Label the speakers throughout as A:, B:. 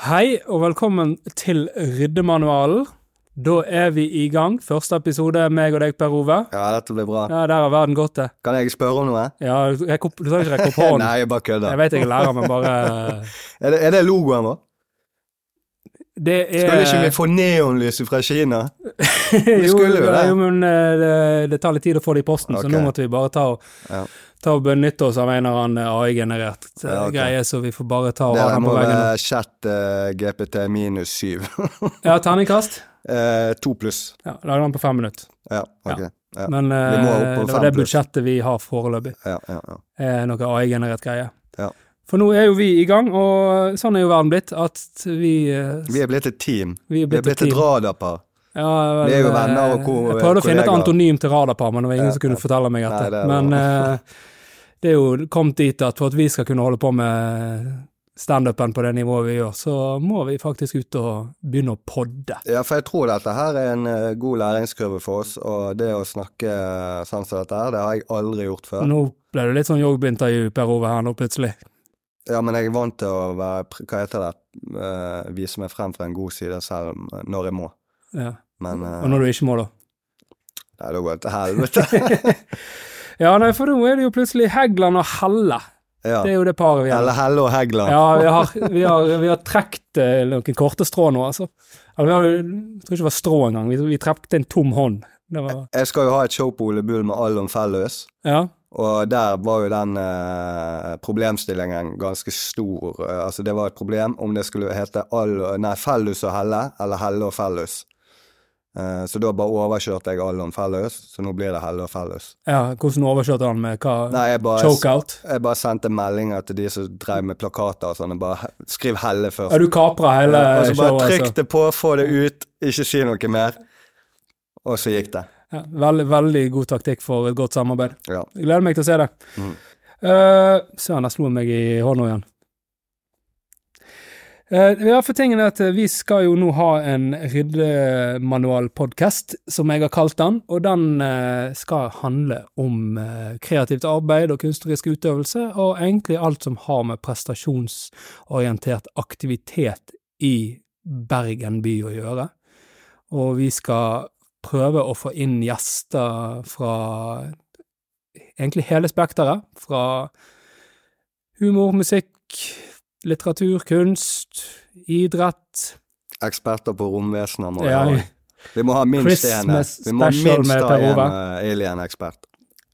A: Hei og velkommen til Ryddemanualen. Da er vi i gang. Første episode, meg og deg, Per Ove.
B: Ja, dette blir bra.
A: Ja, Der har verden gått til.
B: Kan jeg spørre om noe?
A: Ja, rekk opp, Du trenger ikke rekke opp hånden.
B: Nei, jeg bare
A: Jeg
B: kødder.
A: vet jeg er lærer, men bare
B: Er, det- er det logoen vår?
A: Det er
B: Skulle ikke vi få neonlyset fra Kina? vi
A: Jo,
B: skulle jo det.
A: Jo, men eh, det, det tar litt tid å få det i posten,
B: Ok.
A: så nå måtte vi bare ta og,
B: Ja.
A: ta og benytte oss av en eller annen AI-generert eh,
B: Ja, ok.
A: greie, så vi får bare ta og ha
B: Det
A: den
B: må
A: på veggen.
B: være chat eh, GPT minus syv.
A: Ja, terningkast.
B: Eh, To pluss.
A: Ja, Lage den på fem minutter.
B: Ja, ok. Ja.
A: Men eh,
B: Vi må opp på
A: det
B: fem
A: var det
B: pluss.
A: budsjettet vi har foreløpig.
B: Ja, ja, ja.
A: er eh, noe AI-generert greie.
B: Ja.
A: For nå er jo vi i gang, og sånn er jo verden blitt, at vi, eh,
B: Vi er blitt et team.
A: vi er
B: Vi er
A: blitt
B: blitt et
A: team.
B: radarpar.
A: Ja, vel,
B: vi er jo
A: eh,
B: venner og ko-
A: Jeg prøvde å finne et
B: kollegaer.
A: antonym til radarpar, men det var ingen
B: Ja,
A: som kunne fortelle meg
B: Nei,
A: dette.
B: det er
A: men
B: bra.
A: eh, det er jo kommet dit at for at vi skal kunne holde på med standupen på det nivået vi gjør, så må vi faktisk ut og begynne å podde.
B: Ja, for jeg tror dette her er en eh, god læringskurve for oss, og det å snakke eh, sånn som dette her, det har jeg aldri gjort før.
A: Nå ble det litt sånn jobbintervju, Per Ove, her nå plutselig.
B: Ja, men jeg er vant til å være, pr- hva heter det, Eh, vise meg frem fra en god side selv om- eh, når jeg må.
A: Ja.
B: Men eh,
A: Og når du ikke må, da.
B: Nei, da går det til helvete.
A: Ja, nei, for nå er det jo plutselig Hegland og Helle.
B: ja.
A: Det er jo det paret vi har.
B: Eller Helle og Hegland.
A: Ja, vi har, vi har, vi har trekt eh, noen korte strå nå, altså. Eller, vi har, jo- jeg tror ikke det var strå engang, vi, vi trekte en tom hånd. Det var,
B: Jeg skal jo ha et show på Ole Bull med Allon Felløs,
A: ja.
B: og der var jo den eh, problemstillingen ganske stor. Eh, altså, det var et problem om det skulle hete All, nei, Fellus og Helle, eller Helle og Fellus. Eh, så da bare overkjørte jeg Allon Felløs, så nå blir det Helle og Fellus.
A: ja, hvordan overkjørte han med hva?
B: Nei, jeg bare,
A: Chokeout?
B: jeg bare sendte meldinger til de som drev med plakater og sånn, og bare skriv Helle først.
A: Ja, du kapra hele
B: og så bare
A: showet,
B: trykk
A: altså.
B: det på, få det ut, ikke si noe mer. Og så gikk det.
A: Ja, veldig, veldig god taktikk for et godt samarbeid.
B: Ja.
A: Jeg gleder meg til å se det.
B: Mhm.
A: Eh, Søren, der slo han meg i hånda igjen. Eh, ja, for tingen er at eh, Vi skal jo nå ha en ryddemanual-podkast, som jeg har kalt den. Og den eh, skal handle om eh, kreativt arbeid og kunstnerisk utøvelse, og egentlig alt som har med prestasjonsorientert aktivitet i Bergen by å gjøre. Og vi skal prøve å få inn gjester fra egentlig hele spekteret, fra humor, musikk, litteratur, kunst, idrett
B: Eksperter på romvesener må vi
A: ja,
B: ha. Vi må ha minst én
A: Christmas
B: Vi må ha
A: special
B: minst
A: med
B: da
A: Per
B: en
A: Ove.
B: eh, alien-ekspert.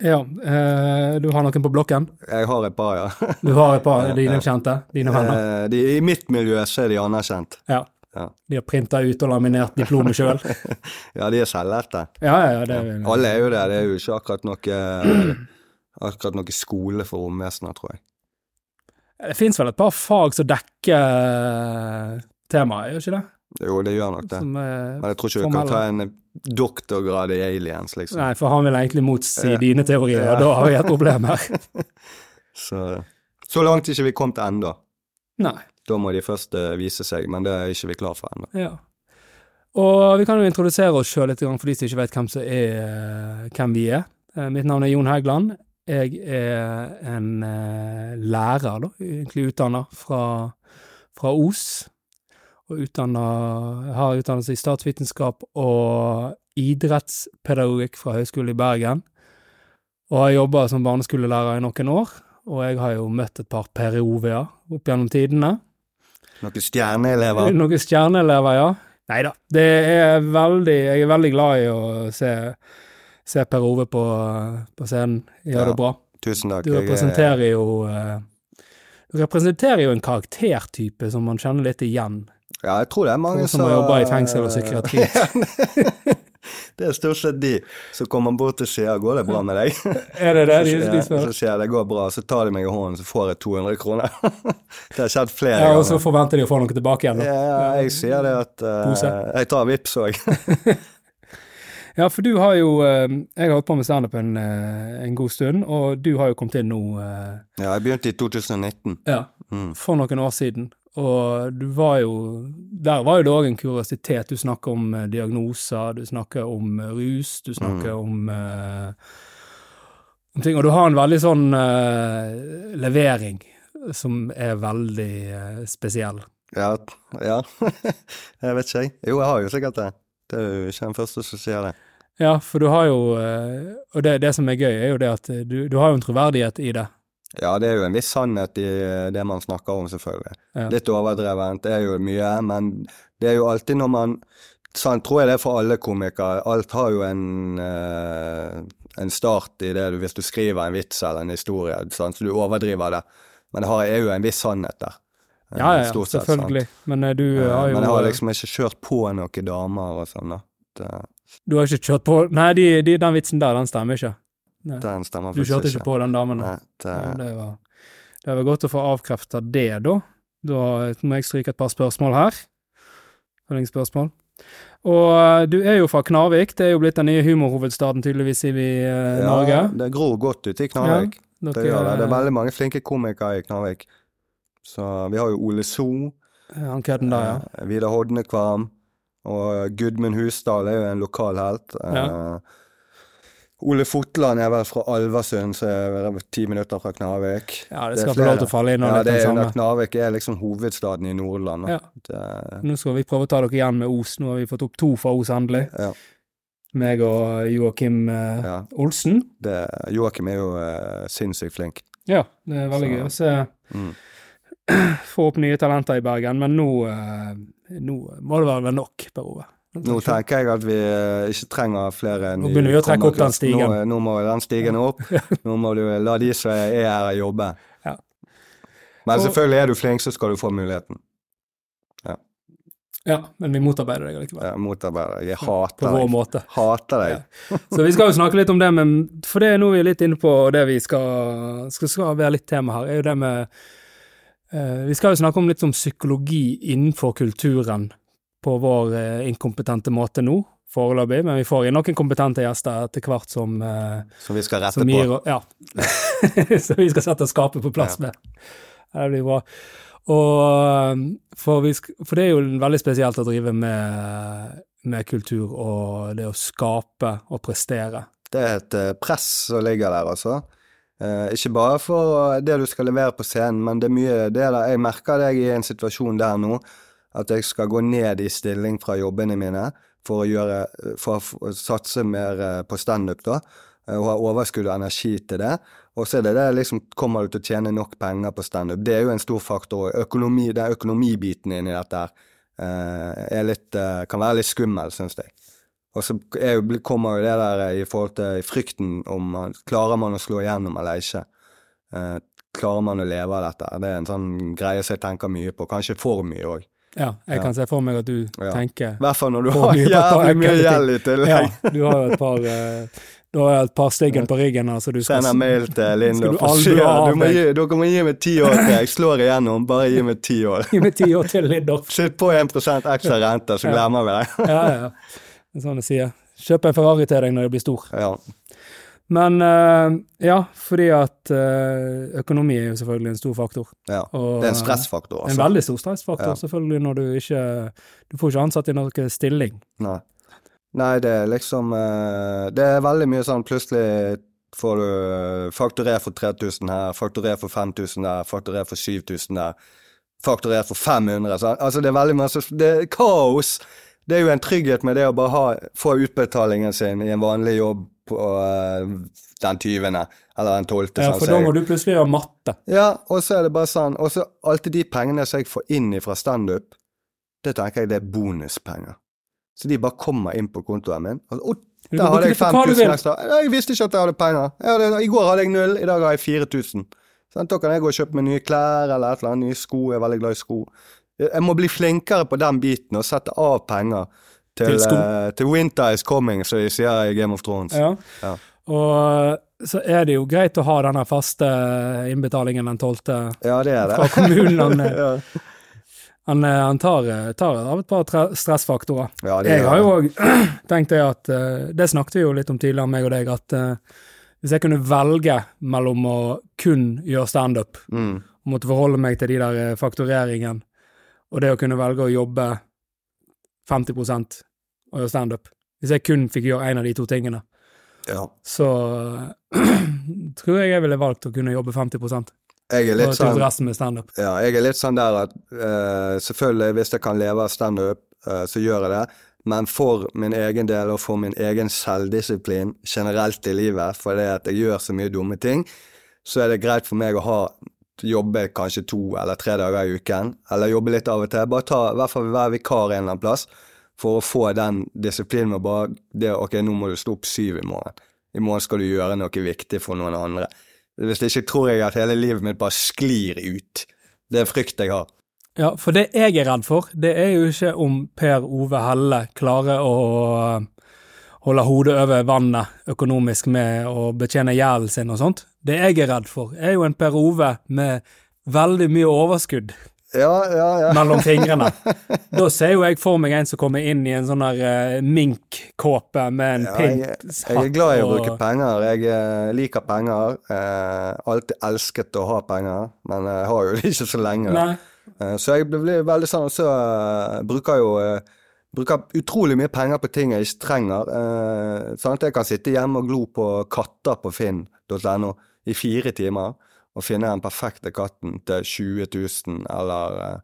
A: ja, eh, Du har noen på blokken?
B: Jeg har et par, ja.
A: Du har et par av dine kjente? Dine venner?
B: Eh, de, I mitt miljø så er de anerkjent.
A: Ja.
B: ja.
A: De har printa ut og laminert diplomet sjøl?
B: Ja, de er selvlærte.
A: Ja, ja, ja, det er vel-
B: Alle er jo det. Det er jo ikke akkurat noe eh, Akkurat noe skole for romvesener, tror jeg.
A: Det fins vel et par fag som dekker eh, temaet, gjør ikke det?
B: Jo, det gjør nok det.
A: Som, eh,
B: Men jeg tror ikke vi kan ta en doktorgrad i aliens, liksom.
A: nei, for han vil egentlig motsi
B: Ja.
A: dine teorier, og da har vi et problem her.
B: Så, så langt ikke vi kom til ennå.
A: Nei.
B: Da må de først eh, vise seg, men det er ikke vi klar for ennå.
A: Ja. Og vi kan jo introdusere oss sjøl litt grann for de som ikke vet hvem, som er, hvem vi er. Eh, Mitt navn er Jon Hægland. Jeg er en eh, lærer, da, egentlig utdanna fra, fra Os. Og utdanna, har utdannelse i statsvitenskap og idrettspedagogikk fra Høgskolen i Bergen. Og har jobba som barneskolelærer i noen år. Og jeg har jo møtt et par periover opp gjennom tidene.
B: Noen stjerneelever.
A: Noen stjerneelever, ja. Nei da. Det er veldig Jeg er veldig glad i å se, se Per Ove på, på scenen. Gjør
B: Ja,
A: det bra.
B: Tusen takk.
A: Du
B: jeg er-
A: representerer jo eh, Du representerer jo en karaktertype som man kjenner litt igjen.
B: Ja, jeg tror det er mange
A: Folk som har jobba i fengsel og psykiatri.
B: det er stort sett de som kommer bort og sier 'går det bra med deg?'
A: Er det det de,
B: Ja,
A: de
B: så
A: spør?
B: sier jeg 'det går bra', så tar de meg i hånden, så får jeg 200 kroner. det har skjedd flere
A: Ja, og så
B: ganger.
A: forventer de å få noe tilbake igjen. da.
B: Ja, jeg sier det at eh,
A: Pose.
B: Jeg tar vips òg.
A: Ja, for du har jo eh, Jeg har holdt på med standup en, eh, en god stund, og du har jo kommet inn nå eh,
B: ja, jeg begynte i 2019.
A: Ja,
B: Mm.
A: for noen år siden. Og du var jo Der var jo det òg en kuriositet. Du snakker om eh, diagnoser, du snakker om eh, rus,
B: Mm.
A: du snakker om eh, om ting, Og du har en veldig sånn eh, levering som er veldig eh, spesiell.
B: Ja, ja. jeg vet ikke, jeg. Jo, jeg har jo sikkert det. Det er jo ikke den første som sier det.
A: Ja, for du har jo eh, Og det, det som er gøy, er jo det at eh, du, du har jo en troverdighet i det.
B: Ja, det er jo en viss sannhet i eh, det man snakker om, selvfølgelig.
A: Ja.
B: Litt overdrevent, det er jo mye, men det er jo alltid når man Sånn tror jeg det er for alle komikere. Alt har jo en, eh, en start i det du- hvis du skriver en vits eller en historie, sant? så du overdriver det. Men det har, er jo en viss sannhet der. eh,
A: Ja, ja, ja
B: stort sett, sant?
A: selvfølgelig. Men eh, du eh, har
B: Eh,
A: jo
B: Men jeg har liksom ikke kjørt på noen damer og sånn, da. Det,
A: Du har ikke kjørt på Nei, de, de, den vitsen der, den stemmer ikke.
B: den stemmer
A: Du kjørte ikke på den damen.
B: Nei, det,
A: Ja, det, var, det var godt å få avkrefta det, da. Da må jeg stryke et par spørsmål her. Følgingsspørsmål. Og eh, du er jo fra Knarvik, det er jo blitt den nye humorhovedstaden tydeligvis i vi, eh, Norge.
B: Ja, det gror godt ute i Knarvik.
A: Dere,
B: Det gjør det. Det er veldig mange flinke komikere i Knarvik. Så vi har jo Ole So,
A: eh, Han kødden der, ja.
B: eh, Vidar Hodnekvam, og Gudmund Husdal er jo en lokal helt. Eh, Ole Fotland er vel fra Alversund, så er vel ti minutter fra Knarvik.
A: Ja, det
B: det
A: skal
B: er
A: få lov
B: flere.
A: til å falle inn.
B: Ja,
A: Ja, det
B: det er under
A: samme.
B: Knarvik er liksom hovedstaden i Nordland. da.
A: Ja.
B: Det,
A: Nå skal vi prøve å ta dere igjen med Os. Nå har vi fått opp to fra Os, endelig.
B: Ja.
A: Meg og Joakim eh,
B: ja,
A: Olsen.
B: det, Joakim er jo eh, sinnssykt flink.
A: Ja, det er veldig
B: Så-
A: gøy å se.
B: Mm.
A: Få opp nye talenter i Bergen, men nå, eh, nå må det være nok, Per Ove.
B: Nå tenker jeg at vi eh, ikke trenger flere
A: Nå begynner vi å trekke opp den stigen.
B: Nå, eh, nå må den stigen opp. Nå må du eh, la de som er her, jobbe.
A: Ja.
B: Men
A: Og-
B: selvfølgelig er du flink, så skal du få muligheten.
A: Ja, men vi motarbeider deg likevel.
B: Jeg motarbeider deg. Jeg
A: På
B: hater
A: vår
B: deg.
A: måte.
B: Hater
A: Ja.
B: deg.
A: Så vi skal jo snakke litt om det, men for det er noe vi er litt inne på, og det vi skal, skal, skal være litt tema her, er jo det med eh, Vi skal jo snakke om litt om psykologi innenfor kulturen på vår eh, inkompetente måte nå, foreløpig, men vi får inn noen kompetente gjester etter hvert som eh,
B: Som vi skal rette
A: Som
B: på.
A: gir, ja. så vi skal sette skapet på plass med. Ja, Det blir bra. Og, um, for, vi sk for det er jo veldig spesielt å drive med, med kultur og det å skape og prestere.
B: Det er et eh, press som ligger der, altså. Eh, ikke bare for eh, det du skal levere på scenen, men det er mye det der. Jeg merker det jeg er i en situasjon der nå, at jeg skal gå ned i stilling fra jobbene mine for å, gjøre, eh, for å f- satse mer eh, på standup, da. eh, Og ha overskudd og energi til det. Og så er det det liksom Kommer du til å tjene nok penger på standup? Det er jo en stor faktor. Økonomi, den økonomibiten inni dette her eh, er litt, eh, kan være litt skummel, syns jeg. Og så er jo, blir- kommer jo det der eh, i forhold til frykten om man, klarer man å slå igjennom eller ikke. Eh, klarer man å leve av dette? Det er en sånn greie som jeg tenker mye på. Kanskje for mye òg.
A: Ja, jeg kan se for meg at du
B: Ja.
A: tenker
B: I hvert fall når du
A: For
B: har
A: mye på
B: jævlig mye
A: enkelte
B: gjeld i tillegg.
A: Ja, du har jo et par eh, Du har jo et par styggen på ryggen, altså. Du skal,
B: Sender mail til Linde
A: Skal du
B: og
A: aldri
B: sier
A: ha
B: du må
A: deg?
B: gi, dere må gi meg ti år til jeg slår igjennom. Bare gi meg ti år.
A: gi meg ti år til Lindorf.
B: Skytt på 1 ekstra rente, så glemmer vi det.
A: Ja, ja. ja. Det er sånn jeg sier. Kjøp en Ferrari til deg når jeg blir stor.
B: Ja.
A: Men eh, ja, fordi at eh, økonomi er jo selvfølgelig en stor faktor.
B: ja.
A: Og,
B: Det er en stressfaktor,
A: En
B: altså.
A: veldig stor stressfaktor,
B: Ja.
A: selvfølgelig, når du ikke Du får ikke ansatt i noen stilling.
B: Nei. Nei, det er liksom eh, Det er veldig mye sånn plutselig får du eh, fakturer for 3000 her, fakturer for 5000 der, fakturer for 7000 der, fakturer for 500 så, Altså, det er veldig masse Det er kaos! Det er jo en trygghet med det å bare ha, få utbetalingen sin i en vanlig jobb på eh, den 20., eller den 12.,
A: Ja,
B: sånn
A: for
B: som
A: da
B: jeg-
A: må du plutselig gjøre matte.
B: ja, og så er det bare sånn Og så alltid de pengene som jeg får inn fra standup, det tenker jeg det er bonuspenger. Så de bare kommer inn på kontoen min. Og, og
A: Du
B: der
A: kan
B: hadde
A: bruke
B: jeg
A: det på hva du
B: 5000
A: vil.
B: ekstra. Nei, Jeg visste ikke at jeg hadde penger. Jeg hadde, I går hadde jeg null, i dag har jeg 4000. Sånn, da kan jeg gå og kjøpe meg nye klær eller et eller annet, nye sko. Jeg er veldig glad i sko. Jeg må bli flinkere på den biten og sette av penger til,
A: Til sko.
B: eh, til Winter is coming, som de sier i Game of Thrones.
A: Ja.
B: Ja.
A: Og eh, så er det jo greit å ha denne faste innbetalingen den tolvte
B: Ja, det er
A: fra
B: det.
A: kommunen. Han, eh,
B: ja.
A: han, eh, han tar, eh, tar av et par tre- stressfaktorer.
B: Ja, det
A: Jeg
B: er
A: har
B: det.
A: jo òg tenkt det at eh, Det snakket vi jo litt om tidligere, meg og deg, at eh, hvis jeg kunne velge mellom å kun gjøre standup
B: Mm.
A: og måtte forholde meg til de der eh, faktureringen, og det å kunne velge å jobbe 50 og gjøre standup. Hvis jeg kun fikk gjøre én av de to tingene, eh,
B: ja.
A: så tror jeg jeg ville valgt å kunne jobbe 50
B: Jeg er
A: Og
B: litt
A: til
B: sånn
A: resten med standup.
B: Ja, jeg er litt sånn der at eh, selvfølgelig, hvis jeg kan leve av standup, eh, så gjør jeg det. Men for min egen del og for min egen selvdisiplin generelt i livet, fordi at jeg gjør så mye dumme ting, så er det greit for meg å ha jobbe kanskje to eller tre dager i uken, eller jobbe litt av og til. Bare ta, i hvert fall være vikar en eller annen plass, for å få den disiplinen med bare det Ok, nå må du stå opp syv i morgen. I morgen skal du gjøre noe viktig for noen andre. Hvis ikke tror jeg at hele livet mitt bare sklir ut. Det er frykt jeg har.
A: Ja, for det jeg er redd for, det er jo ikke om Per Ove Helle klarer å eh, holde hodet over vannet økonomisk med å betjene gjelden sin og sånt. Det jeg er redd for, er jo en Per Ove med veldig mye overskudd
B: Ja, ja, ja.
A: mellom fingrene. Da ser jo jeg for meg en som kommer inn i en sånn der eh, minkkåpe med en
B: Ja, jeg,
A: pint
B: jeg er glad i å
A: hatt
B: bruke penger. Jeg eh, liker penger. Eh, alltid elsket å ha penger, men jeg har jo det ikke så lenge. da.
A: Nei,
B: Eh, Så jeg blir veldig sånn, og så eh, bruker jeg jo eh, bruker utrolig mye penger på ting jeg ikke trenger. Eh, sant? Jeg kan sitte hjemme og glo på katter på finn.no i fire timer og finne den perfekte katten til 20 000, eller eh,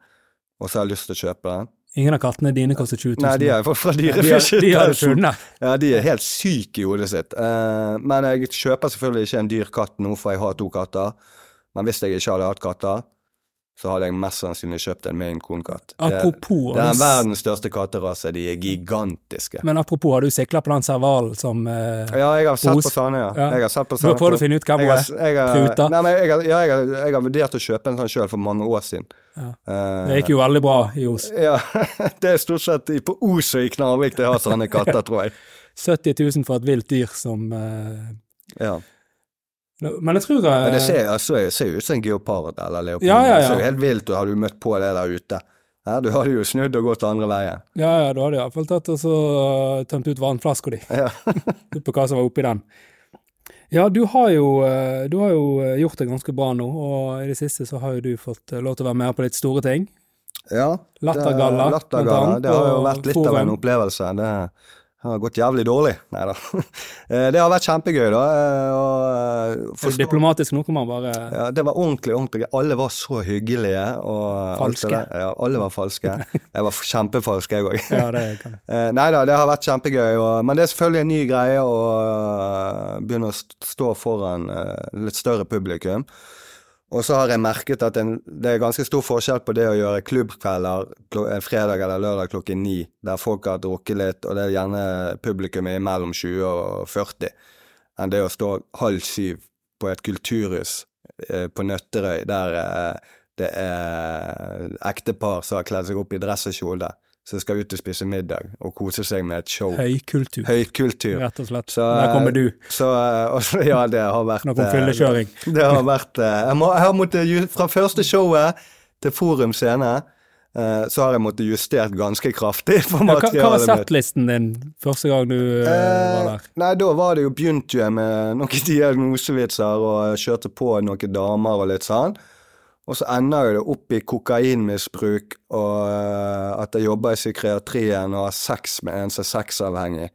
B: Og så har jeg lyst til å kjøpe den.
A: ingen av kattene dine koster 20 000.
B: Nei, de er jo fra
A: Ja, de er- de har du
B: Dyrebeskyttelsen.
A: funnet.
B: Ja, de er helt syke i hodet sitt. Eh, men jeg kjøper selvfølgelig ikke en dyr katt nå, for jeg har to katter. Men hvis jeg ikke hadde hatt katter, så hadde jeg mest sannsynlig kjøpt en Maine Coon-katt. Det,
A: Apropos
B: det er verdens største katterase. De er gigantiske.
A: Men apropos, har du sikla på den servalen som eh,
B: Ja, jeg har sett
A: Pose.
B: på sånne, ja.
A: Ja.
B: Jeg har sett på
A: Du har
B: sånne.
A: prøvd å finne ut hvem hun
B: Jeg har,
A: er.
B: jeg har,
A: Pruta.
B: Nei, men jeg har, ja, jeg, har, jeg har vurdert å kjøpe en sånn sjøl for mange år siden. Eh,
A: Det gikk jo veldig bra i Os.
B: ja, det er stort sett i- på Os og i Knarvik de har sånne katter, tror jeg.
A: 70 000 for et vilt dyr som eh,
B: Ja.
A: Men jeg tror eh,
B: Men det ser, altså, det ser jo ut som en geopard eller leopard.
A: Ja, ja, ja.
B: Det ser jo helt vilt ut, har du møtt på det der ute. Ja, du hadde jo snudd og gått andre veien.
A: Ja, ja, da hadde jeg iallfall tatt og så eh, tømt ut vannflaska di.
B: Ja.
A: Ut på hva som var oppi den. Ja, du har, jo, eh, du har jo eh, gjort det ganske bra nå, og i det siste så har jo du fått eh, lov til å være med på litt store ting.
B: ja det-
A: Lattergalla,
B: Lattergalla. Det har jo
A: og
B: vært litt av en
A: Forum.
B: opplevelse. Det har gått jævlig dårlig. Nei da. Eh, Det har vært kjempegøy, da. eh, Og eh,
A: Er du
B: forstå-
A: diplomatisk nå, kan man bare
B: Ja, det var ordentlig, ordentlig gøy. Alle var så hyggelige. Og alt det
A: Falske.
B: der. Ja, alle var falske. Jeg var kjempefalsk, jeg òg.
A: Ja, det kan jeg.
B: Eh, nei da, det har vært kjempegøy, og, men det er selvfølgelig en ny greie å eh, begynne å st- stå foran eh, litt større publikum. Og så har jeg merket at en, det er ganske stor forskjell på det å gjøre klubbkvelder klo, en fredag eller lørdag klokken ni, der folk har drukket litt, og det er gjerne publikum er mellom 20 og 40, enn det å stå halv syv på et kulturhus eh, på Nøtterøy, der eh, det er ektepar som har kledd seg opp i dress og kjole, som skal ut og spise middag og kose seg med et show.
A: Høykultur,
B: Høykultur.
A: rett og slett.
B: Så,
A: Der kommer du.
B: Så, eh, og så- ja, det har vært
A: Nå kom
B: eh,
A: fyllekjøring.
B: det har vært eh, jeg, må, jeg har måttet, ju- Fra første showet til Forum scene, eh, så har jeg måttet justert ganske kraftig på
A: Ja, hva, hva var
B: materialet mitt.
A: settlisten din første gang du eh, var
B: Eh,
A: der?
B: nei, da var det jo begynte jeg med noen diagnosevitser og kjørte på noen damer og litt sånn. Og så ender jo det opp i kokainmisbruk og eh, at jeg jobber i psykiatrien og har sex med en som er sexavhengig.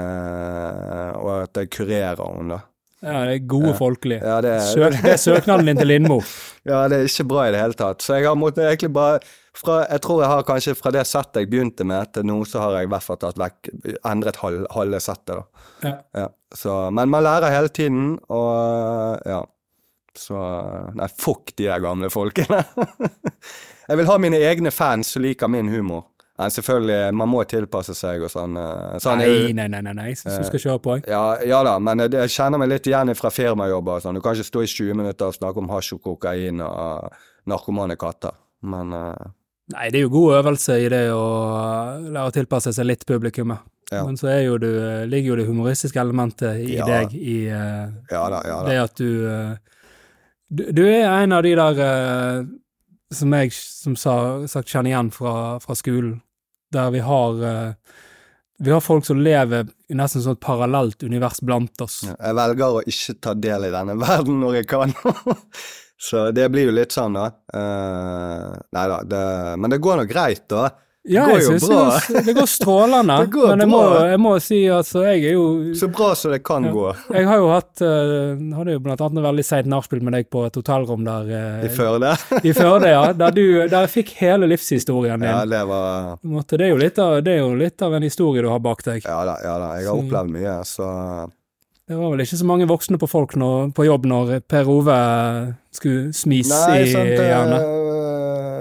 B: Eh, og at jeg kurerer henne, da.
A: Ja, det er gode folkelige.
B: Eh, Ja, det er
A: Søk, det er søknaden din til Lindmo.
B: Ja, det er ikke bra i det hele tatt. Så jeg har måttet egentlig bare fra, Jeg tror jeg har kanskje fra det settet jeg begynte med til nå, så har jeg i hvert fall tatt vekk Endret halv, halve settet, da.
A: Ja.
B: Ja, så, men man lærer hele tiden, og eh, ja. Så Nei, fuck de der gamle folkene. jeg vil ha mine egne fans som liker min humor. Men selvfølgelig, man må tilpasse seg og sånn. eh, sånn er jo-
A: Nei, nei, nei, nei, nei. jeg syns du skal kjøre på. Jeg.
B: ja, ja da, men jeg, jeg kjenner meg litt igjen fra firmajobber. og Sånn. Du kan ikke stå i 20 minutter og snakke om hasj og kokain og narkomane katter. Men eh,
A: Nei, det er jo god øvelse i det å lære å tilpasse seg litt publikummet.
B: Ja.
A: Men så er jo du, eh, ligger jo det humoristiske elementet i
B: Ja.
A: deg i eh,
B: ja da, ja da.
A: det at du, eh, du Du er en av de der eh, som jeg som sa, sagt kjenner igjen fra, fra skolen, der vi har eh, vi har folk som lever i nesten sånn et parallelt univers blant oss.
B: Jeg velger å ikke ta del i denne verden når jeg kan. Eh, Så det blir jo litt sånn, da. Uh, nei da, det, men det går nå greit, da.
A: Ja,
B: går
A: jeg
B: jo
A: synes
B: bra.
A: det går- det går strålende.
B: Det går
A: men jeg må,
B: bra.
A: jeg må si, altså, jeg er jo
B: Så bra som det kan gå
A: Jeg har jo hatt eh, Hadde jo blant annet en veldig seint nachspiel med deg på et hotellrom der eh,
B: i Førde.
A: i Førde, ja. Der, du, der jeg fikk hele livshistorien din.
B: Ja, det var
A: På en måte, Det er, jo litt av, det er jo litt av en historie du har bak deg.
B: Ja da, ja da. Jeg har
A: Så-
B: opplevd mye, så
A: Det var vel ikke så mange voksne på folk nå, på jobb når Per Ove skulle smis
B: Nei,
A: i
B: sant.
A: hjernen.
B: eh,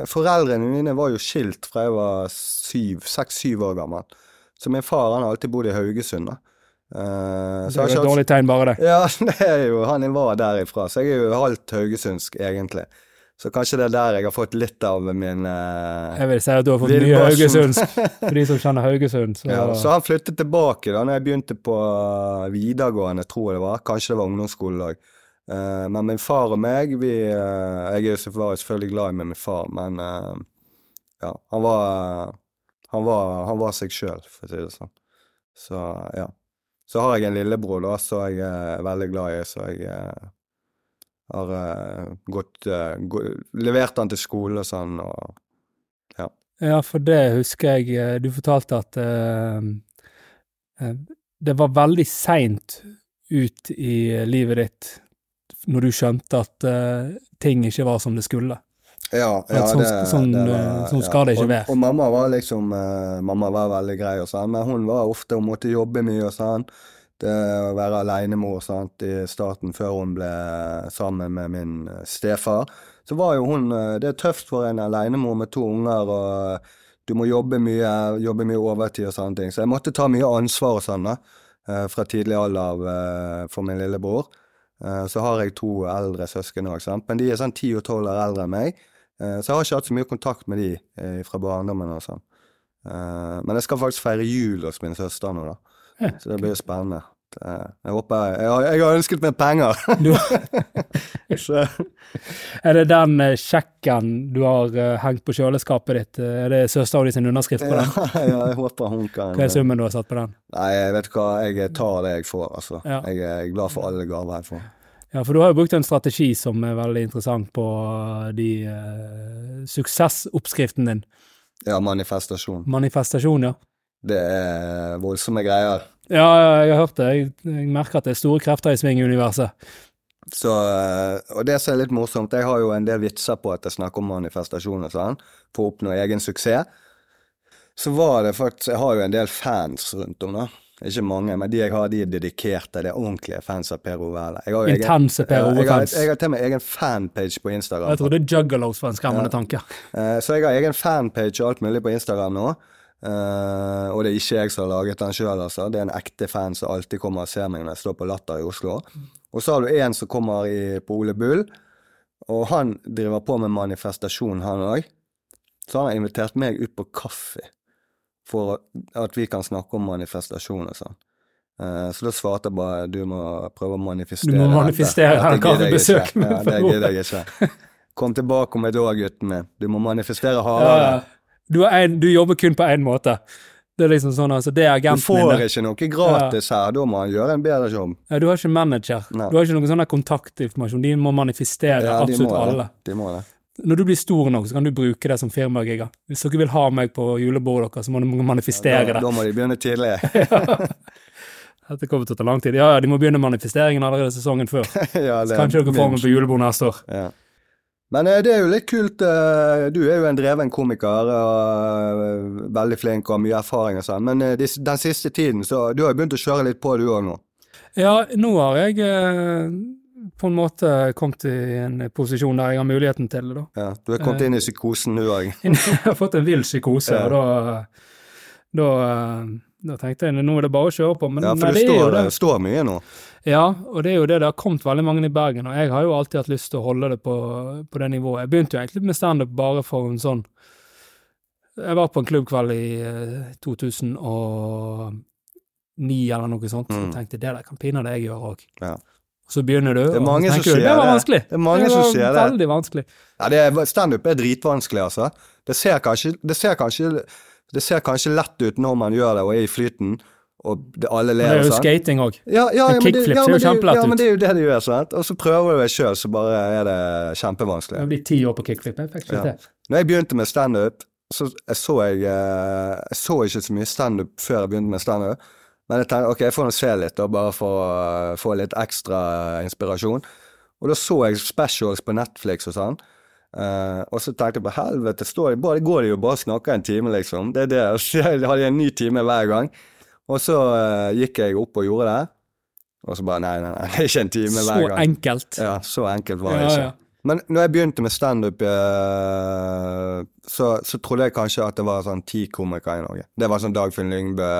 B: Foreldrene mine var jo skilt fra jeg var syv, seks-syv år gammel. Så min far han har alltid bodd i Haugesund, da. Eh,
A: Det
B: så jeg
A: er jo
B: har
A: et
B: ikke hatt
A: dårlig tegn, bare det.
B: Ja, det er jo, han var derifra, så jeg er jo halvt haugesundsk, egentlig. Så kanskje det er der jeg har fått litt av min eh,
A: Jeg vil si at du har fått mye
B: Villmarsen.
A: haugesundsk. For de som kjenner Haugesund, så
B: sånn- ja, Så han flyttet tilbake da når jeg begynte på eh, videregående, tror jeg det var. Kanskje det var ungdomsskoledag. Eh, men min far og meg, vi eh, Jeg er jo selvfø- var jo selvfølgelig glad i min far, men eh, ja, han var, eh, han var Han var seg sjøl, for å si det sånn. Så ja. Så har jeg en lillebror, da, som jeg er veldig glad i, så jeg eh, har eh, gått, eh, gå, Levert han til skole og sånn, og
A: Ja, for det husker jeg eh, du fortalte at eh, eh, det var veldig seint ut i livet ditt når du skjønte at eh, ting ikke var som det skulle.
B: Ja,
A: At sånn- sånn, eh, sånn skal det ikke
B: og,
A: være.
B: Og mamma var liksom eh, Mamma var veldig grei og sånn, men hun var ofte Hun måtte jobbe mye og sånn. Det å være alenemor sant, i starten, før hun ble sammen med min eh, stefar, så var jo hun eh, Det er tøft for en alenemor med to unger, og eh, du må jobbe mye, jobbe mye overtid og sånne ting. Så jeg måtte ta mye ansvar og sånn, da, eh, fra tidlig alder av eh, for min lillebror. Eh, Så har jeg to eldre søsken òg, men de er sånn ti og tolv år eldre enn meg. Eh, Så jeg har ikke hatt så mye kontakt med de eh, fra barndommen og sånn. Eh, Men jeg skal faktisk feire jul hos min søster nå, da.
A: Ja,
B: Så det blir jo spennende. Det- Jeg håper Jeg har, jeg har ønsket meg penger!
A: Du,
B: Så,
A: er det den eh, sjekken du har eh, hengt på kjøleskapet ditt, eh, er det søstera di sin underskrift på
B: ja,
A: den?
B: jeg håper hun kan
A: Hva er summen du har satt på den?
B: Nei, jeg vet hva, jeg tar det jeg får, altså.
A: Ja.
B: Jeg er glad for alle gaver jeg får.
A: Ja, for du har jo brukt en strategi som er veldig interessant på eh, de eh, suksessoppskriften din.
B: Ja, manifestasjon.
A: Manifestasjon, ja.
B: Det er voldsomme greier.
A: Ja, ja, jeg har hørt det. Jeg, jeg merker at det er store krefter i svinguniverset.
B: Så, eh, og det som er litt morsomt, jeg har jo en del vitser på at jeg snakker om manifestasjon og sånn, for å oppnå egen suksess. Så var det faktisk, jeg har jo en del fans rundt om da, ikke mange, men de jeg har, de er dedikerte, det er ordentlige fans av Per Ove Erle. Jeg har jo egen-
A: Intense Per
B: Ja, jeg har-
A: Ove-fans.
B: Jeg har til og med egen fanpage på Instagram.
A: Jeg trodde juggalos var en skremmende tanke.
B: Eh, Så jeg har egen fanpage og alt mulig på Instagram nå. Eh, og det er ikke jeg som har laget den sjøl, altså. Det er en ekte fan som alltid kommer og ser meg når jeg står på Latter i Oslo. Og så har du en som kommer i, på Ole Bull, og han driver på med manifestasjon, han òg. Så han har invitert meg ut på kaffe for at vi kan snakke om manifestasjon og sånn. Eh, så da svarte jeg bare du må prøve å manifestere.
A: Du må
B: dette.
A: manifestere
B: Dette
A: en
B: gidder jeg
A: kaffebesøk
B: ikke.
A: med
B: Ja, det
A: Per
B: gidder jeg ikke. Kom tilbake om et år, gutten min. Du må manifestere
A: Ja,
B: hardere.
A: ja. Du, er en, du jobber kun på én måte. Det er liksom sånn, altså. Det er
B: Du
A: agenten
B: får
A: din. det.
B: ikke noe gratis her, da må han gjøre en bedre jobb.
A: Ja, du har ikke manager.
B: Nei.
A: Du har ikke noen sånn der kontaktinformasjon. De må manifestere
B: Ja, de
A: absolutt
B: må det.
A: alle.
B: De må det.
A: Når du blir stor nok, så kan du bruke det som firmagigger. Hvis dere vil ha meg på julebordet deres, så må dere manifestere
B: Da, da må de begynne tidlig.
A: det. Dette kommer til å ta lang tid. Ja, ja, de må begynne manifesteringen allerede sesongen før.
B: ja, det er
A: Kanskje dere får
B: min-
A: meg på julebord neste år.
B: Ja. Men eh, det er jo litt kult. eh, Du er jo en dreven komiker og eh, veldig flink og har mye erfaring og sånn, men eh, dis- den siste tiden, så du har jo begynt å kjøre litt på du òg nå.
A: Ja, nå har jeg eh, på en måte kommet i en posisjon der jeg har muligheten til det, da.
B: Ja, du er kommet
A: Eh.
B: inn i psykosen du òg.
A: Jeg har fått en vill psykose,
B: Ja.
A: og da, eh, da, eh, da tenkte jeg nå er det bare å kjøre på. Men
B: Ja,
A: nei,
B: for
A: det
B: du
A: er jo
B: står,
A: det.
B: står mye nå.
A: Ja, og det er jo det. Det har kommet veldig mange i Bergen, og jeg har jo alltid hatt lyst til å holde det på, på det nivået. Jeg begynte jo egentlig med standup bare for en sånn Jeg var på en klubbkveld i eh, 2009 eller noe sånt, og
B: Mm.
A: tenkte det der kan pinadø jeg gjøre òg.
B: Ja.
A: Så begynner du,
B: er
A: og
B: mange
A: så
B: som
A: tenker du
B: sier
A: det var
B: det.
A: vanskelig.
B: Det er mange
A: det
B: som
A: var
B: sier det.
A: veldig vanskelig.
B: Ja, det er- Standup er dritvanskelig, altså. Det ser, kanskje, det, ser kanskje, det ser kanskje lett ut når man gjør det og er i flyten, og det, alle
A: Men det
B: ler og
A: er jo
B: sånn.
A: skating òg.
B: Ja, ja,
A: Men
B: ja, men det,
A: kickflips
B: ja,
A: ser jo
B: men det,
A: kjempelett
B: ja,
A: ut.
B: men det er jo det det gjør, sant. Og så prøver du deg sjøl, så bare er det kjempevanskelig.
A: Jeg blir ti år på kickflip. Jeg fikk ikke
B: Ja.
A: til.
B: Når jeg begynte med standup, så jeg så, jeg, eh, jeg så ikke så mye standup før jeg begynte med standup. Men jeg tenkte ok, jeg får nå se litt, da, bare for å eh, få litt ekstra eh, inspirasjon. Og da så jeg specials på Netflix og sånn. Eh, og så tenkte jeg på helvete, står de, bare, går de jo bare og snakker en time, liksom. Det er det. Og så hadde jeg en ny time hver gang. Og så eh, gikk jeg opp og gjorde det. Og så bare nei, nei, nei, det er ikke en time
A: Så
B: hver gang.
A: enkelt.
B: Ja, så enkelt var det
A: Ja,
B: ikke.
A: ja.
B: Men når jeg begynte med standup, eh, så, så trodde jeg kanskje at det var sånn ti komikere i Norge. Det var sånn Dagfinn Lyngbø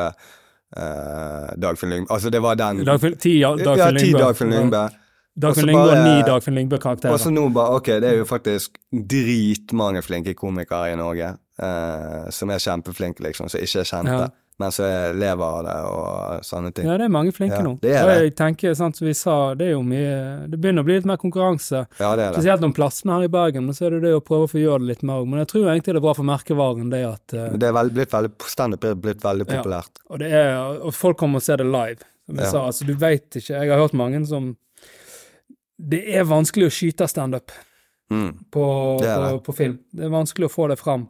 B: eh, Dagfinn Lyngbø Altså, det var den.
A: Dagfinn- Ti ja,
B: ja,
A: Dagfinn
B: ti
A: Lyngbø.
B: Dagfinn Lyngbø.
A: Dagfinn
B: Og så
A: Lyngbø og
B: bare-
A: ni Dagfinn
B: Og
A: Lyngbø-karakterer.
B: så nå bare Ok, det er jo faktisk dritmange flinke komikere i Norge eh, som er kjempeflinke, liksom, som ikke er kjente,
A: Ja.
B: men som er- lever av det og sånne ting.
A: Ja, det er mange flinke
B: Ja,
A: nå.
B: det er
A: Og
B: det.
A: jeg tenker, sant, som vi sa, det er jo mye Det begynner å bli litt mer konkurranse.
B: Ja, det er det.
A: Spesielt om plassene her i Bergen, men så er det det å prøve å få gjøre det litt mer Men jeg tror egentlig det er bra for merkevaren, det at eh,
B: Det er veldig, blitt veldig, standup er blitt veldig
A: Ja.
B: populært.
A: Og, det er, og folk kommer og ser det live. Som jeg
B: Ja.
A: sa, altså du veit ikke Jeg har hørt mange som Det er vanskelig å skyte standup
B: Mm.
A: på,
B: Det er
A: på,
B: det.
A: på film. Det er vanskelig å få det fram.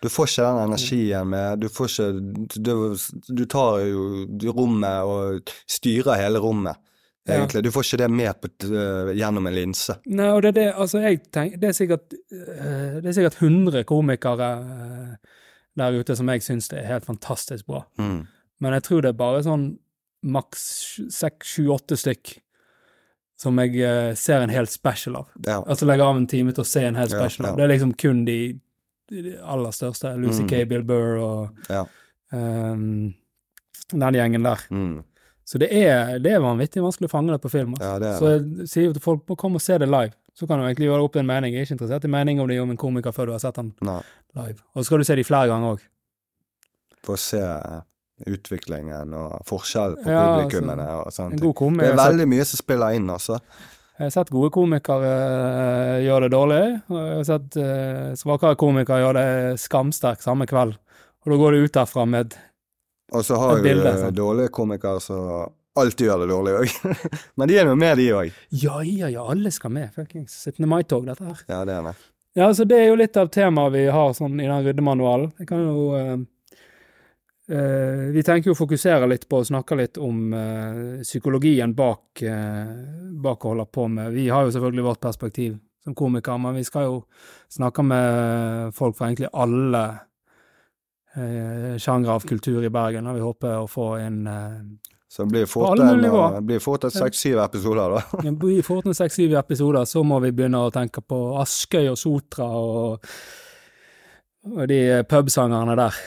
B: Du får ikke den energien med Du får ikke Du, du tar jo rommet og styrer hele rommet,
A: Ja.
B: egentlig. Du får ikke det med på, t- øh, gjennom en linse.
A: Nei, og det er det Altså, jeg tenker Det er sikkert eh, Det er sikkert 100 komikere eh, der ute som jeg syns det er helt fantastisk bra. Men jeg tror det er bare sånn maks seks, sju, åtte stykk som jeg eh, ser en hel special av.
B: Ja.
A: Altså legger av en time til å se en hel
B: Ja,
A: special.
B: ja.
A: Det er liksom kun de, de aller største. Lucy
B: Mm.
A: K, Bill Burr og
B: Ja.
A: ehm, den gjengen der.
B: Mm.
A: Så det er, det er vanvittig vanskelig å fange det på film. Altså.
B: ja, det er
A: Så
B: det.
A: jeg sier jo til folk må komme og se det live. Så kan du egentlig gjøre deg opp til en mening. Jeg er ikke interessert i mening om det er om en komiker før du har sett han
B: Nei.
A: live. Og så skal du se de flere ganger òg.
B: Få se eh, utviklingen og forskjell på
A: Ja, altså,
B: publikummene og sånne
A: En
B: ting.
A: god altså, komiker.
B: Det er
A: jeg har sett-
B: veldig mye som spiller inn, altså.
A: Jeg har sett gode komikere eh, gjøre det dårlig, og jeg har sett eh, svakere komikere gjøre det skamsterkt samme kveld. Og da går det ut derfra med
B: Og så har
A: Et
B: jo
A: bilde, altså.
B: øh,
A: sant.
B: dårlige komikere som alltid gjør det dårlig òg. Men de er nå med, de òg.
A: Ja, ja, ja, alle skal med. Fuckings 17. mai-tog, dette her.
B: Ja, det er det.
A: Ja, altså Det er jo litt av temaet vi har sånn i den ryddemanualen. Jeg kan jo eh, eh, Vi tenker jo å fokusere litt på og snakke litt om eh, psykologien bak, eh, bak å holde på med. Vi har jo selvfølgelig vårt perspektiv som komikere, men vi skal jo snakke med folk fra egentlig alle eh, sjangre av kultur i Bergen, og vi håper å få en eh,
B: Så det blir fort
A: alle
B: en,
A: nivåer.
B: øh, blir fort et seks-syv episoder, da.
A: Ja, I Fortnite 6-7 episoder så må vi begynne å tenke på Askøy og Sotra og, og de pubsangerne der.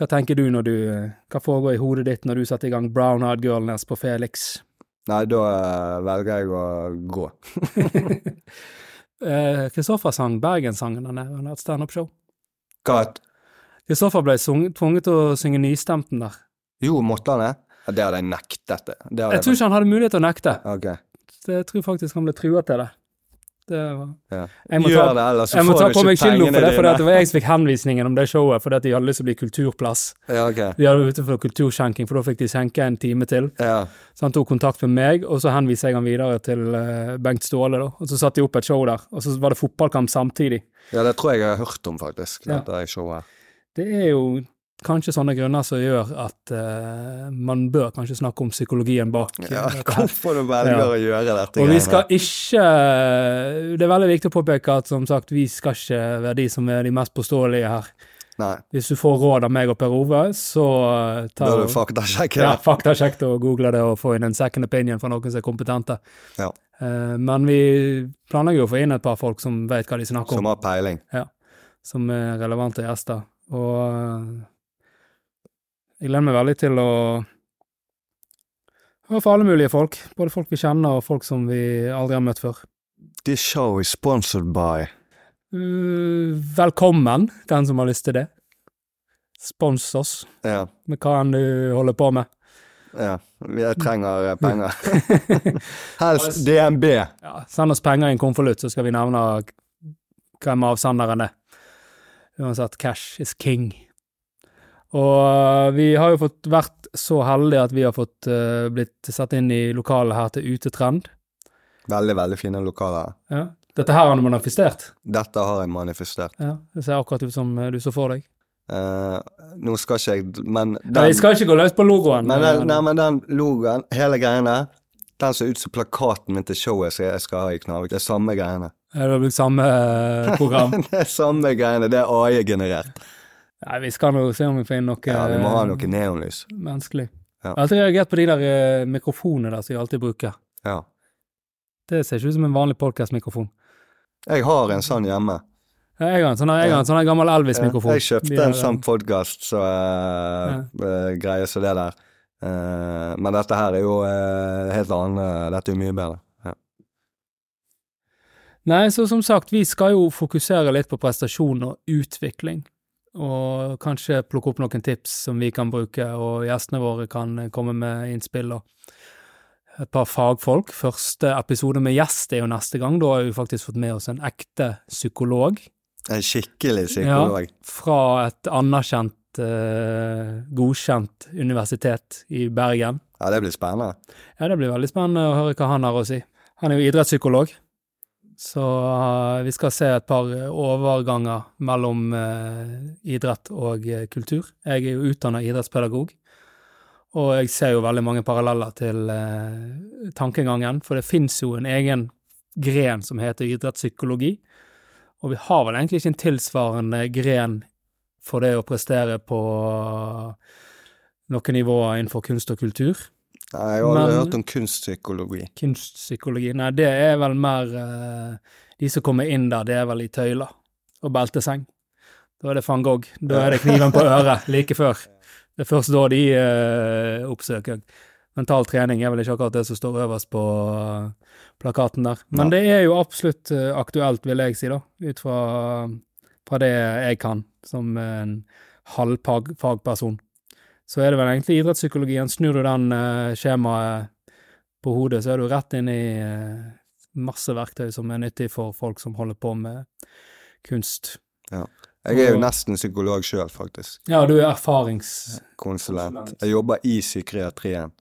A: Hva tenker du når du Hva foregår i hodet ditt når du setter i gang Brown Eyed Girl Nest på Felix?
B: Nei, da øh, velger jeg å gå.
A: Eh, Kristoffer sang Bergenssangen han er- han har et standup-show.
B: Hva?
A: Kristoffer ble sung- tvunget til å synge Nystemten der.
B: Jo, måtte han det? Ja, Det hadde jeg nektet. det. Det hadde
A: Jeg tror ikke han hadde mulighet til å nekte.
B: Ok,
A: Det- Jeg tror faktisk han ble trua til det. Det var
B: ja.
A: Jeg må ta-
B: Gjør det, ellers så
A: Jeg må
B: får
A: ta
B: du
A: på
B: ikke
A: meg skylda
B: pengene
A: for det, for det
B: dine.
A: var jeg som fikk henvisningen om det showet, fordi at de hadde lyst til å bli kulturplass.
B: Ja, ok.
A: De hadde vært ute for kulturskjenking, for da fikk de skjenke en time til.
B: Ja.
A: Så han tok kontakt med meg, og så henviser jeg han videre til eh, Bengt Ståle, da. Og så satte de opp et show der, og så var det fotballkamp samtidig.
B: ja, det tror jeg jeg har hørt om, faktisk.
A: Ja.
B: Dette showet.
A: Det er jo kanskje sånne grunner som gjør at eh, man bør kanskje snakke om psykologien bak. eh,
B: Ja,
A: dette her.
B: hvorfor du velger
A: Ja.
B: å gjøre dette
A: Og vi skal ikke eh, Det er veldig viktig å påpeke at som sagt, vi skal ikke være de som er de mest påståelige her.
B: Nei,
A: Hvis du får råd av meg og Per Ove, så eh,
B: da
A: ta
B: er du faktasjekker.
A: Ja, faktasjekk og google det og få inn en second opinion fra noen som er kompetente.
B: Ja.
A: Eh, men vi planlegger jo å få inn et par folk som vet hva de snakker om,
B: Som har peiling.
A: som er relevante gjester. Og eh, jeg gleder meg veldig til å høre fra alle mulige folk. Både folk vi kjenner og folk som vi aldri har møtt før.
B: This show is sponsored by
A: Eh, velkommen, den som har lyst til det. Spons oss
B: Ja,
A: med hva enn du holder på med.
B: ja. Jeg trenger eh, penger. Helst DNB.
A: ja, send oss penger i en konvolutt, så skal vi nevne hvem avsenderen er. Uansett, cash is king. Og eh, vi har jo fått vært så heldige at vi har fått eh, blitt satt inn i lokalet her til Utetrend.
B: Veldig, veldig fine lokaler.
A: Ja. Dette her har du manifestert.
B: Dette har jeg manifestert.
A: Ja, det ser akkurat ut som eh, du så for deg.
B: Eh, nå skal ikke jeg Men
A: Nei,
B: den,
A: jeg skal ikke gå løs på logoen.
B: men den, nei, men den logoen, hele greiene der, den ser ut som plakaten min til showet som jeg skal ha i Knarvik. Det er samme greiene.
A: Eh, Det har blitt samme eh, program.
B: Det er samme greiene, det er AI-generert.
A: Nei, vi skal nå se om vi får inn noe
B: Ja, vi må ha
A: eh,
B: noe neonlys.
A: menneskelig.
B: Ja.
A: Jeg har alltid reagert på de der eh, mikrofonene der som jeg alltid bruker.
B: Ja.
A: Det ser ikke ut som en vanlig podcast-mikrofon.
B: Jeg har en sånn hjemme.
A: Ja, Jeg har en sånn, her- jeg har en sånn her gammel Elvis-mikrofon.
B: Jeg kjøpte
A: De-
B: en sånn podcast så, eh, eh, greie som det der. Eh, men dette her er jo eh, helt annet. Dette er jo mye bedre. Ja.
A: Nei, så som sagt, vi skal jo fokusere litt på prestasjon og utvikling. Og kanskje plukke opp noen tips som vi kan bruke, og gjestene våre kan komme med innspill og et par fagfolk. Første episode med gjest er jo neste gang. Da har vi faktisk fått med oss en ekte psykolog
B: En skikkelig psykolog.
A: fra et anerkjent, eh, godkjent universitet i Bergen.
B: Ja. det blir spennende.
A: Ja, det blir veldig spennende å høre hva han har å si. Han er jo idrettspsykolog, så eh, vi skal se et par eh, overganger mellom eh, idrett og eh, kultur. Jeg er jo utdanna idrettspedagog, og jeg ser jo veldig mange paralleller til eh, tankegangen, for det fins jo en egen gren som heter idrettspsykologi, og vi har vel egentlig ikke en tilsvarende gren for det å prestere på eh, noen nivåer innenfor kunst og kultur
B: Nei, jeg har aldri
A: Men-
B: hørt om kunstpsykologi.
A: kunstpsykologi. Nei, det er vel mer eh, De som kommer inn der, det er vel i tøyler og belteseng. Da er det van Gogh. Da er det kniven på øret like før. Det er først da de eh, oppsøker. Mental trening er vel ikke akkurat det som står øverst på eh, plakaten der. Men
B: Nei.
A: det er jo absolutt eh, aktuelt, vil jeg si, da, ut fra, fra det jeg kan som en halvfagperson. Så er det vel egentlig idrettspsykologien. Snur du den eh, skjemaet på hodet, så er du rett inn i eh, masse verktøy som er nyttig for folk som holder på med kunst.
B: Jeg er jo nesten psykolog sjøl, faktisk.
A: Ja, du er erfaringscoach.
B: Konsulent. Jeg jobber i psykiatrien.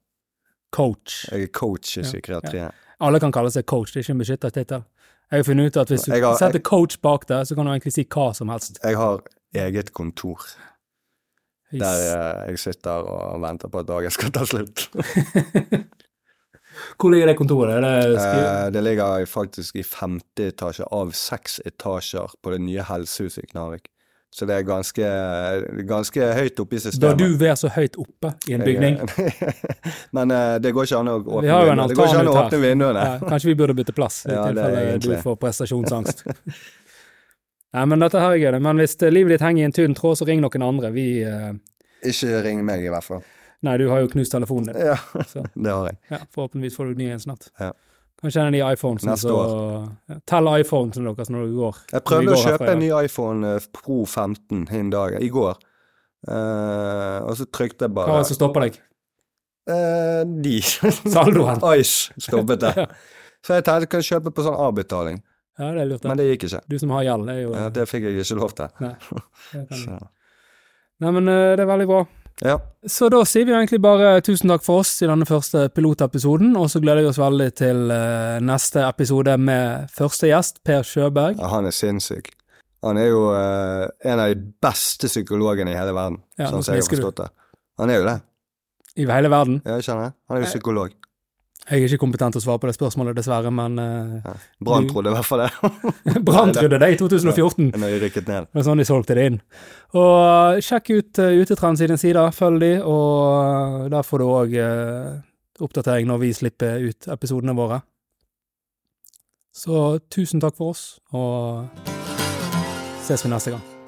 B: Jeg er coach i
A: Ja,
B: psykiatrien.
A: Alle kan kalle seg coach, det er ikke en beskyttet tittel. Jeg har funnet ut at hvis du
B: Jeg har-
A: setter coach bak der, så kan du egentlig si hva som helst.
B: Jeg har eget kontor der
A: Yes.
B: eh, jeg sitter og venter på at dagen skal ta slutt.
A: Hvor ligger det kontoret? Er det skri-
B: Eh, det ligger faktisk i femte etasje av seks etasjer på det nye helsehuset i Knarvik. Så det er ganske, ganske høyt oppe i
A: Bør
B: systemet.
A: du være så høyt oppe i en bygning?
B: Men eh, det går ikke an å
A: Vi
B: åpne,
A: har jo en
B: vinduene. Det går ikke an
A: altan
B: å
A: ut her.
B: åpne vinduene.
A: Ja, kanskje vi burde bytte plass, i
B: Ja, det er
A: tilfelle du
B: egentlig.
A: får prestasjonsangst. Nei, men dette her er gøy. det. Men hvis eh, livet ditt henger i en tynn tråd, så ring noen andre. Vi eh,
B: Ikke ring meg, i hvert fall.
A: Nei, du har jo knust telefonen din.
B: Ja,
A: Så.
B: det har jeg.
A: Ja, forhåpentligvis får du ny en snart.
B: Ja.
A: Kanskje en av de iPhonesene
B: Neste
A: så ja, Tell iPhonesene deres når du går.
B: Jeg
A: Vi
B: prøvde
A: går
B: å
A: herfra
B: kjøpe
A: i
B: en ny iPhone eh, Pro 15 hin dag, i går, Eh, og så trykte jeg
A: Hva er
B: bare
A: det som stopper deg?
B: Eh, De.
A: Saldoen?
B: Ice stoppet det. Så jeg tenkte jeg kunne kjøpe på sånn avbetaling,
A: Ja, det er lurt. det.
B: men det gikk ikke.
A: Du som har gjeld, det er jo
B: Ja, det fikk jeg ikke lov til.
A: Nei, det kan du.
B: Så.
A: Nei, men eh, det er veldig bra.
B: Ja.
A: Så da sier vi egentlig bare tusen takk for oss i denne første pilotepisoden, og så gleder vi oss veldig til eh, neste episode med første gjest, Per Sjøberg.
B: ja, han er sinnssyk. Han er jo eh, en av de beste psykologene i hele verden,
A: Ja, nå
B: sånn som jeg har
A: smisker du.
B: forstått det. Han er jo det.
A: I hele verden.
B: Ja, jeg kjenner det. Han er jo psykolog.
A: Jeg er ikke kompetent til å svare på det spørsmålet, dessverre, men eh,
B: Ja. Brann
A: Du-
B: trodde i hvert fall det,
A: Brann trodde det i 2014.
B: når jeg rykket ned.
A: Det var sånn de solgte det inn. Og eh, sjekk ut uh, Utetrend sine sider, følg de, og eh, der får du òg oppdatering når vi slipper ut episodene våre. Så tusen takk for oss, og eh, ses vi neste gang.